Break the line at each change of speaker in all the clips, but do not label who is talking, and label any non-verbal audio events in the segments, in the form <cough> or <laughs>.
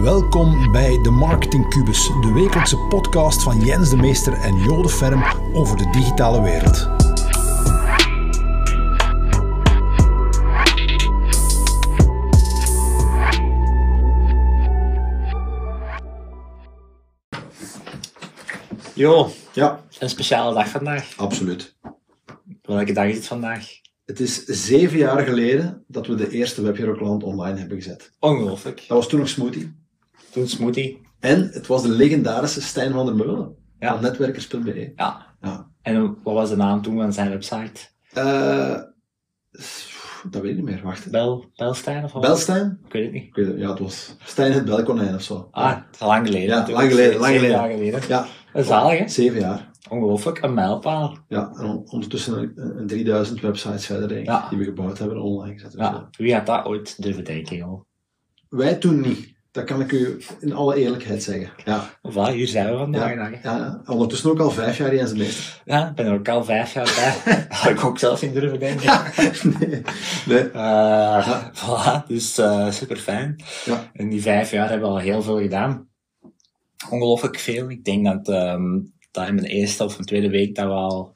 Welkom bij de Marketing Cubus, de wekelijkse podcast van Jens de Meester en Jode Ferm over de digitale wereld.
Jo,
Ja,
een speciale dag vandaag.
absoluut.
Welke dag is het vandaag?
Het is zeven jaar geleden dat we de eerste Webhero Klant online hebben gezet.
Ongelooflijk.
Dat was toen nog Smoothie.
Toen smoothie.
En het was de legendarische Stijn van der Meulen
Ja.
van netwerkers.be.
Ja.
E. Ja.
En wat was de naam toen van zijn website?
Eh, dat weet ik niet meer, wacht.
Bel, Belstein of wat?
Belstijn?
Ik weet het niet.
Ik weet het- Ja, het was Stijn het Belkonijn of zo.
Ah, het is al lang geleden.
Ja,
natuurlijk.
lang geleden, lang
Zeven
geleden.
jaar geleden.
Ja,
Een zalig, hè?
zeven jaar.
Ongelooflijk, een mijlpaal.
Ja, en on- ondertussen een, een 3000 websites verder, denk ik,
Ja.
die we gebouwd hebben online gezet. en zo.
Ja, wie had dat ooit durven denken, joh?
Wij toen niet. Dat kan ik u in alle eerlijkheid zeggen. Ja,
Voilà, hier zijn we vandaag.
ja,
dag, hè.
ja. ondertussen ook al vijf jaar eens de meester.
Ja, ik ben er ook al vijf jaar bij. <laughs> Dat had ik ook zelf niet durven denken.
<laughs> nee. nee.
Eh, <laughs>
Ja.
voilà, dus super fijn.
Ja.
In die vijf jaar hebben we al heel veel gedaan. Ongelooflijk veel. Ik denk dat, ehm, dat in mijn eerste of mijn tweede week dat we al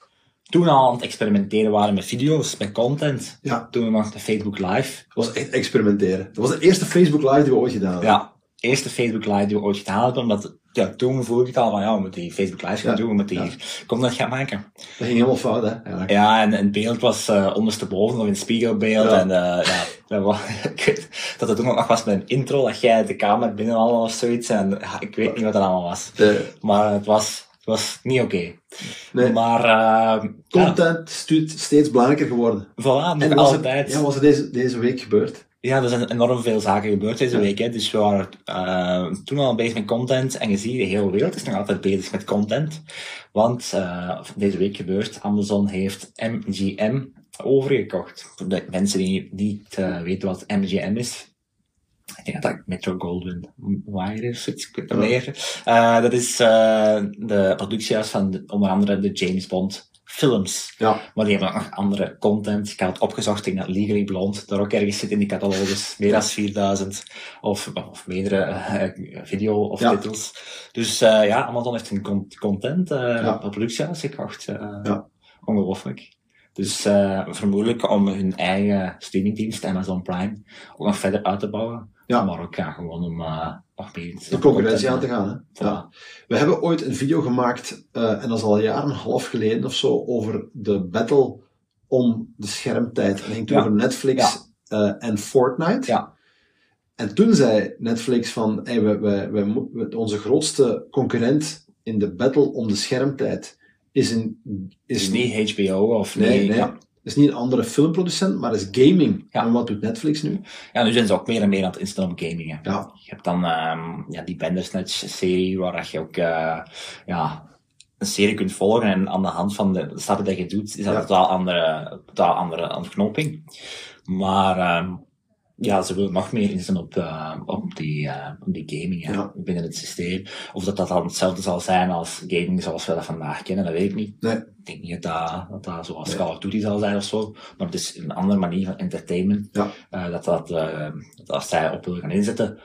toen al aan het experimenteren waren met video's, met content.
Ja.
Toen we nog de Facebook Live.
Het was echt experimenteren. Dat was de eerste Facebook Live die we ooit gedaan hebben.
Ja, eerste Facebook Live die we ooit gedaan hebben. Omdat ja, toen voelde ik al van ja, we moeten die Facebook Live gaan
Ja.
doen, we moeten
Ja.
hier content gaan maken.
Dat ging helemaal fout, hè? Eigenlijk.
Ja, en, en het beeld was eh, ondersteboven, nog in het spiegelbeeld.
Ja.
En eh, ja, dat was, <laughs> ik weet dat het toen ook nog was met een intro, dat jij de kamer binnenhaalde of zoiets. En ja, ik weet niet wat dat allemaal was.
De
Maar het was, het was niet oké.
Nee.
Maar eh ja,
content stuurt steeds belangrijker geworden.
voilà, nog
was
altijd.
Het, ja, was het deze, deze week gebeurd?
Ja, er zijn enorm veel zaken gebeurd deze week. Hè. Dus we waren eh, toen al bezig met content. En je ziet, de hele wereld is nog altijd bezig met content. Want eh, deze week gebeurt, Amazon heeft MGM overgekocht. Voor de mensen die niet eh, weten wat MGM is. Ik denk dat dat Metro Goldwyn Wire is, iets, ik weet het niet meer. Eh, dat is eh, de productiehuis van de- onder andere de James Bond films.
Ja.
Maar die hebben ook nog andere content. Ik had het opgezocht, ik denk dat Legally Blonde daar ook ergens zit in die catalogus. Meer dan 4000. Of, of meerdere eh, video of
Ja.
titels. Dus eh, ja, Amazon heeft hun con- content, eh
Ja.
productiehuis gekocht. eh,
Ja.
Ongelooflijk. Dus eh, vermoedelijk om hun eigen streamingdienst, Amazon Prime, ook nog verder uit te bouwen.
Ja.
Maar ook ja, gewoon om eh, nog meer...
De concurrentie aan te gaan, hè? Ja.
Ja.
We hebben ooit een video gemaakt, eh, en dat is al een jaar en een half geleden of zo, over de battle om de schermtijd. Het ging toen
Ja.
over Netflix eh, en Fortnite.
Ja.
En toen zei Netflix van, hey, we, we, we, mo- we- onze grootste concurrent in de battle om de schermtijd is een... Is
Dus
een-
niet HBO of
Nee,
niet...
nee.
Ja.
is niet een andere filmproducent, maar is gaming.
Ja.
En wat doet Netflix nu?
ja, nu zijn ze ook meer en meer aan het instellen op gaming. hè.
Ja,
Je hebt dan ehm, ja, die Bandersnatch-serie, waar dat je ook eh, ja, een serie kunt volgen. En aan de hand van de stappen die je doet, is dat
Ja.
een totaal andere, totaal andere ontknoping. Maar ehm, ja, ze willen nog meer inzetten op, eh, op, die, eh, op die gaming hè,
Ja.
binnen het systeem. Of dat dat dan hetzelfde zal zijn als gaming zoals we dat vandaag kennen, dat weet ik niet.
Nee.
Ik denk niet dat dat, dat, dat zoals
Nee.
Call of Duty zal zijn of zo. Maar het is dus een andere manier van entertainment.
Ja.
eh, dat, dat, eh, dat als zij op willen gaan inzetten.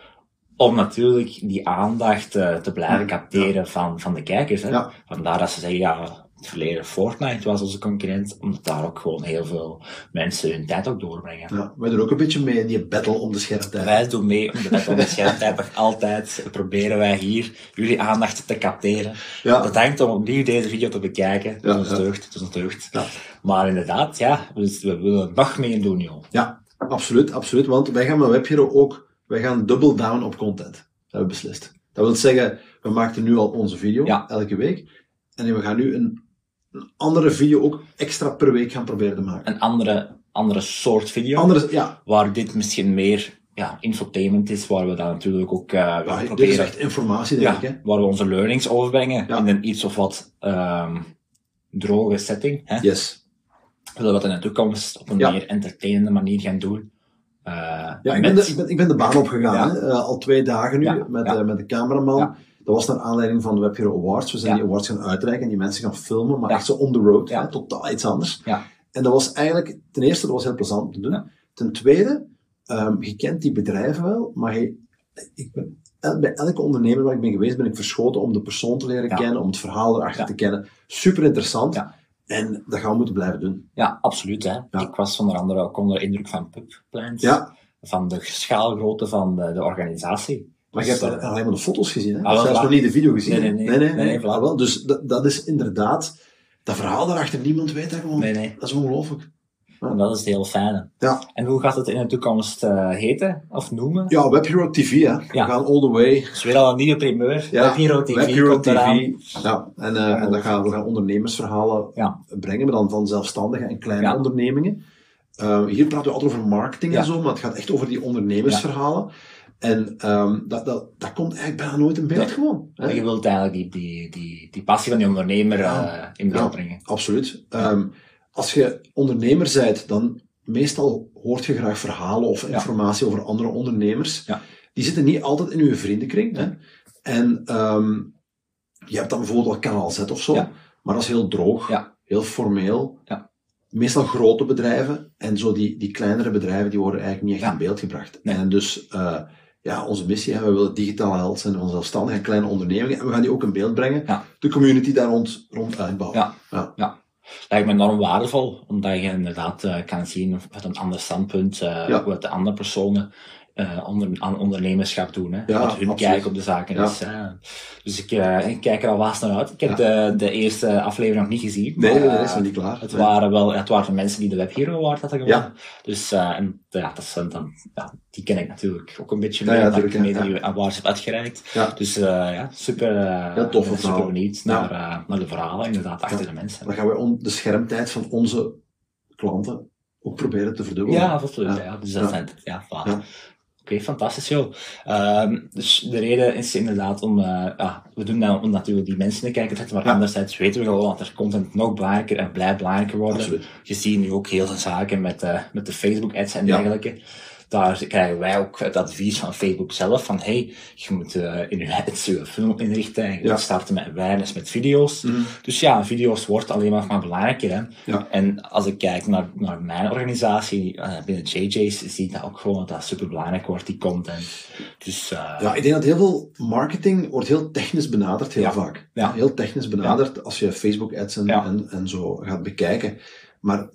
Om natuurlijk die aandacht eh, te blijven
Mm. Ja.
capteren van, van de kijkers. Hè?
Ja.
Vandaar dat ze zeggen, ja, in het verleden Fortnite was onze concurrent. Omdat daar ook gewoon heel veel mensen hun tijd ook doorbrengen.
ja. wij doen ook een beetje mee in die battle om de schermtijd.
Wij doen mee om de wet onderscheidendheid nog altijd. Proberen wij hier jullie aandacht te capteren.
Ja.
Bedankt om opnieuw deze video te bekijken. Het is
Ja,
ons
ja.
deugd, het is ons deugd.
Ja.
Maar inderdaad, ja, we, we willen nog meer doen, joh.
Ja, absoluut, absoluut. Want wij gaan met WebHero ook, wij gaan double down op content. Dat hebben we beslist. Dat wil zeggen, we maakten nu al onze video,
Ja.
elke week. En we gaan nu een, een andere video ook extra per week gaan proberen te maken.
Een andere, andere soort video.
Andere, ja,
Waar dit misschien meer ja, infotainment is. Waar we dan natuurlijk ook eh,
ja,
ja,
Ah, dit is
proberen.
echt informatie, denk
Ja,
ik. Hè?
waar we onze learnings overbrengen.
Ja.
In een iets of wat ehm, droge setting. Hè?
Yes.
We zullen dat in de toekomst op een
Ja.
meer entertainende manier gaan doen. Eh,
Ja, ik,
met-
ben de, ik, ben, ik ben de baan opgegaan,
Ja.
hè. Eh, al twee dagen nu,
Ja,
met,
ja.
eh, met de cameraman.
Ja.
Dat was naar aanleiding van de WebHero Awards. We zijn
Ja.
die awards gaan uitreiken en die mensen gaan filmen, maar
Ja.
echt zo on the road,
Ja.
hè, totaal iets anders.
Ja.
En dat was eigenlijk, ten eerste, dat was heel plezant om te doen.
Ja.
Ten tweede, ehm, je kent die bedrijven wel, maar je, ik ben el- bij elke ondernemer waar ik ben geweest, ben ik verschoten om de persoon te leren
Ja.
kennen, om het verhaal erachter
Ja.
te kennen. Super interessant.
Ja.
En dat gaan we moeten blijven doen.
Ja, absoluut. Hè. Ik was onder andere ook onder de indruk van pubplans.
Ja,
Van de schaalgrootte van de, de organisatie.
maar je
Dus,
hebt al
eh,
alleen maar de foto's gezien, hè?
Ah, wel,
Zelfs
voilà.
nog niet de video gezien.
Nee,
hè?
nee, nee.
nee, nee,
Nee,
nee.
voilà.
Ah, wel, dus dat, dat is inderdaad, dat verhaal daarachter, niemand weet dat gewoon.
Nee, nee.
Dat is ongelooflijk.
En dat is het heel fijne.
Ja.
En hoe gaat het in de toekomst eh, heten of noemen?
Ja, Web Hero TV, hè. We
Ja.
gaan all the way.
Dus weer al een nieuwe primeur.
Ja,
Web Hero TV
Web Hero
komt eraan.
TV. Ja, en, eh, en dan gaan we gaan ondernemersverhalen
Ja.
brengen, maar dan van zelfstandigen en kleine
Ja.
ondernemingen. Eh, hier praten we altijd over marketing en
Ja.
zo, maar het gaat echt over die ondernemersverhalen. En ehm, dat, dat, dat komt eigenlijk bijna nooit in beeld
Nee.
gewoon. hè.
Je wilt eigenlijk die, die, die, die passie van die ondernemer
Ja.
eh, in beeld
Ja.
brengen.
Absoluut. Ehm, als je ondernemer bent, dan meestal hoort je graag verhalen of informatie over andere ondernemers.
Ja.
Die zitten niet altijd in je vriendenkring. Hè? En ehm, je hebt dan bijvoorbeeld al kanaal Z of zo,
Ja.
maar dat is heel droog,
Ja.
heel formeel.
Ja.
Meestal grote bedrijven en zo die, die kleinere bedrijven die worden eigenlijk niet echt
Ja.
in beeld gebracht.
Nee.
En dus eh, ja, onze missie, hè, we willen digitale held zijn van zelfstandige en kleine ondernemingen. En we gaan die ook in beeld brengen.
Ja.
De community daar rond, rond uitbouwen.
Ja. Lijkt me enorm waardevol, omdat je inderdaad eh, kan zien vanuit een ander standpunt eh
Ja.
wat de andere personen eh, onder, aan ondernemerschap doen. Hè?
Ja,
wat hun
absoluut.
kijk op de zaken
Ja.
is. hè. Dus ik, eh, ik kijk er alvast naar uit. Ik heb de, de eerste aflevering nog niet gezien.
Nee,
maar,
nee, nee,
eh,
is nog niet klaar.
Het
Nee.
waren wel het waren de mensen die de Web Hero Award hadden gewonnen.
Ja.
Dus eh, en, ja, dat zijn dan, ja, die ken ik natuurlijk ook een beetje
Ja,
meer,
ja,
omdat ik
tuurlijk,
mee
ja,
die awards heb uitgereikt.
Ja.
Dus eh, ja, super, eh,
Ja, toffe
super
verhalen.
benieuwd
Ja.
naar, eh, naar de verhalen inderdaad achter
Ja.
de mensen.
Dan gaan we on- de schermtijd van onze klanten ook proberen te verdubbelen.
Ja, absoluut. Ja.
Ja.
Dus dat
Ja.
zijn ja, voilà.
Ja.
Oké, fantastisch joh. Ehm, dus de reden is inderdaad om, eh, ja, we doen dat om natuurlijk die mensen te kijken te zetten, maar
Ja.
anderzijds weten we gewoon dat er content nog belangrijker en blijft belangrijker worden.
Absoluut.
Je ziet nu ook heel veel zaken met, eh, met de Facebook-ads en
Ja.
dergelijke. Daar krijgen wij ook het advies van Facebook zelf van hey, je moet eh, in je ads je funnel inrichten en je
Ja.
moet starten met awareness met video's.
Mhm.
Dus ja, video's wordt alleen maar, maar belangrijker. Hè?
Ja.
En als ik kijk naar, naar mijn organisatie eh, binnen JJ's, zie ik dat ook gewoon dat dat super belangrijk wordt, die content. Dus eh,
Ja, ik denk dat heel veel marketing wordt heel technisch benaderd, heel
Ja.
vaak.
Ja.
Heel technisch benaderd als je Facebook-ads en,
Ja.
en, en zo gaat bekijken. Maar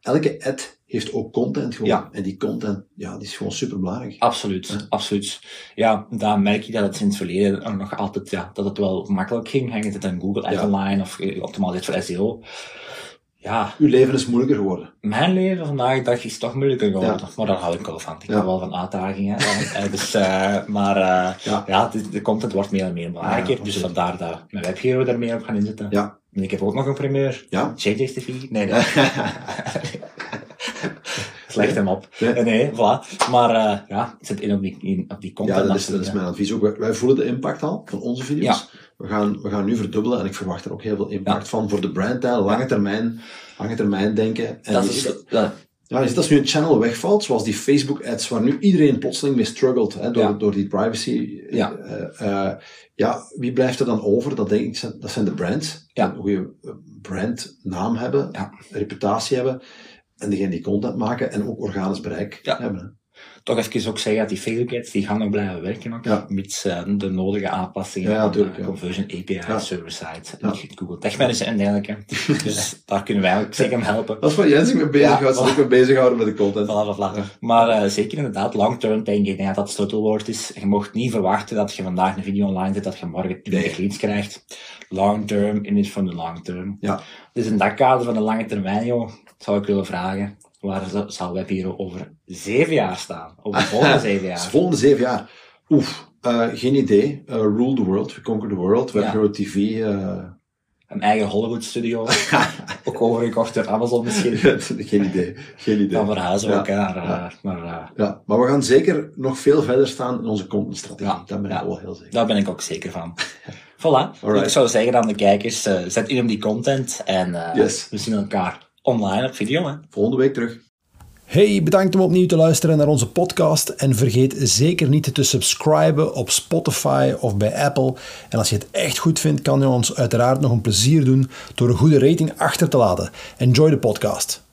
elke ad heeft ook content gewoon.
Ja.
En die content, ja, die is gewoon superbelangrijk.
Absoluut,
Ja.
absoluut. Ja, daar merk je dat het in het verleden nog altijd, ja, dat het wel makkelijk ging. Hang het in Google Ad
Ja.
Online of eh, optimaal dit voor SEO. Ja,
Uw leven is moeilijker geworden.
mijn leven vandaag de dag is toch moeilijker geworden.
Ja.
Maar daar hou ik wel van. Ik
Ja.
hou wel van uitdagingen. <laughs> Eh, dus, eh, maar eh,
Ja.
ja, de, de content wordt meer en meer belangrijker. dus
absoluut.
vandaar dat mijn webhero daar meer op gaan inzetten.
Ja.
En ik heb ook nog een primeur.
Ja.
JJ's TV? Nee,
<laughs>
nee. Slecht hem op.
Nee.
Nee, nee, voilà. Maar eh, ja, het zit in op die, in, op die content.
Ja, dat is, dat
natuurlijk,
is
hè.
mijn advies ook. Wij, wij voelen de impact al van onze video's. We, gaan, we gaan nu verdubbelen en ik verwacht er ook heel veel impact van voor de brandtijl, lange termijn, lange termijn denken. En
Dat
je
is,
ziet dat-
dat-
ja, je ziet als nu een channel wegvalt, zoals die Facebook-ads, waar nu iedereen plotseling mee struggelt hè, door,
Ja.
door die privacy. eh,
Ja.
eh, eh, ja, wie blijft er dan over? Dat denk ik, zijn- dat zijn de brands.
Ja.
Een goede eh, brandnaam hebben,
Ja.
reputatie hebben. En degene die content maken en ook organisch bereik
Ja.
hebben. hè.
toch even ook zeggen dat die Facebook-ads, die gaan nog blijven werken ook,
Ja,
mits eh, de nodige aanpassingen
Ja, ja,
aan de
tuurlijk, ja.
conversion API,
Ja.
server-side,
Ja.
Google Tech Manager en
<laughs>
dergelijke. dus daar kunnen wij ook zeker mee helpen.
Dat is waar Jens zich mee bezighoudt,
Ja.
zich mee bezighouden met de content.
Voilà, voilà. Maar eh, zeker inderdaad, long-term denk ik, ik denk dat dat het sleutelwoord is. Je mocht niet verwachten dat je vandaag een video online zet, dat je morgen 20
Nee.
leads krijgt. Long-term, in het van de long-term.
Ja.
Dus in dat kader van de lange termijn, joh, zou ik willen vragen, waar z- zal Web hier over zeven jaar staan? Over de
<laughs>
volgende zeven
Dus
jaar?
de volgende zeven jaar. Oef, eh, geen idee. Eh, rule the world, we conquer the world. We
Ja.
hebben Hero TV. eh, <laughs>
Een eigen Hollywood-studio, ook overgekocht door Amazon misschien.
geen idee. Geen idee.
Dan verhuizen we
Ja.
elkaar eh,
Ja.
naar... eh,
Ja, maar we gaan zeker nog veel verder staan in onze contentstrategie.
Ja.
Dat ben ik
Ja.
wel heel zeker.
Daar ben ik ook zeker van. Voilà.
<laughs> Alright.
Ik zou zeggen aan de kijkers, eh, zet in op die content en eh,
Yes.
we zien elkaar online op video. Hè.
Volgende week terug.
Hey, bedankt om opnieuw te luisteren naar onze podcast. En vergeet zeker niet te subscriben op Spotify of bij Apple. En als je het echt goed vindt, kan je ons uiteraard nog een plezier doen door een goede rating achter te laten. Enjoy de podcast.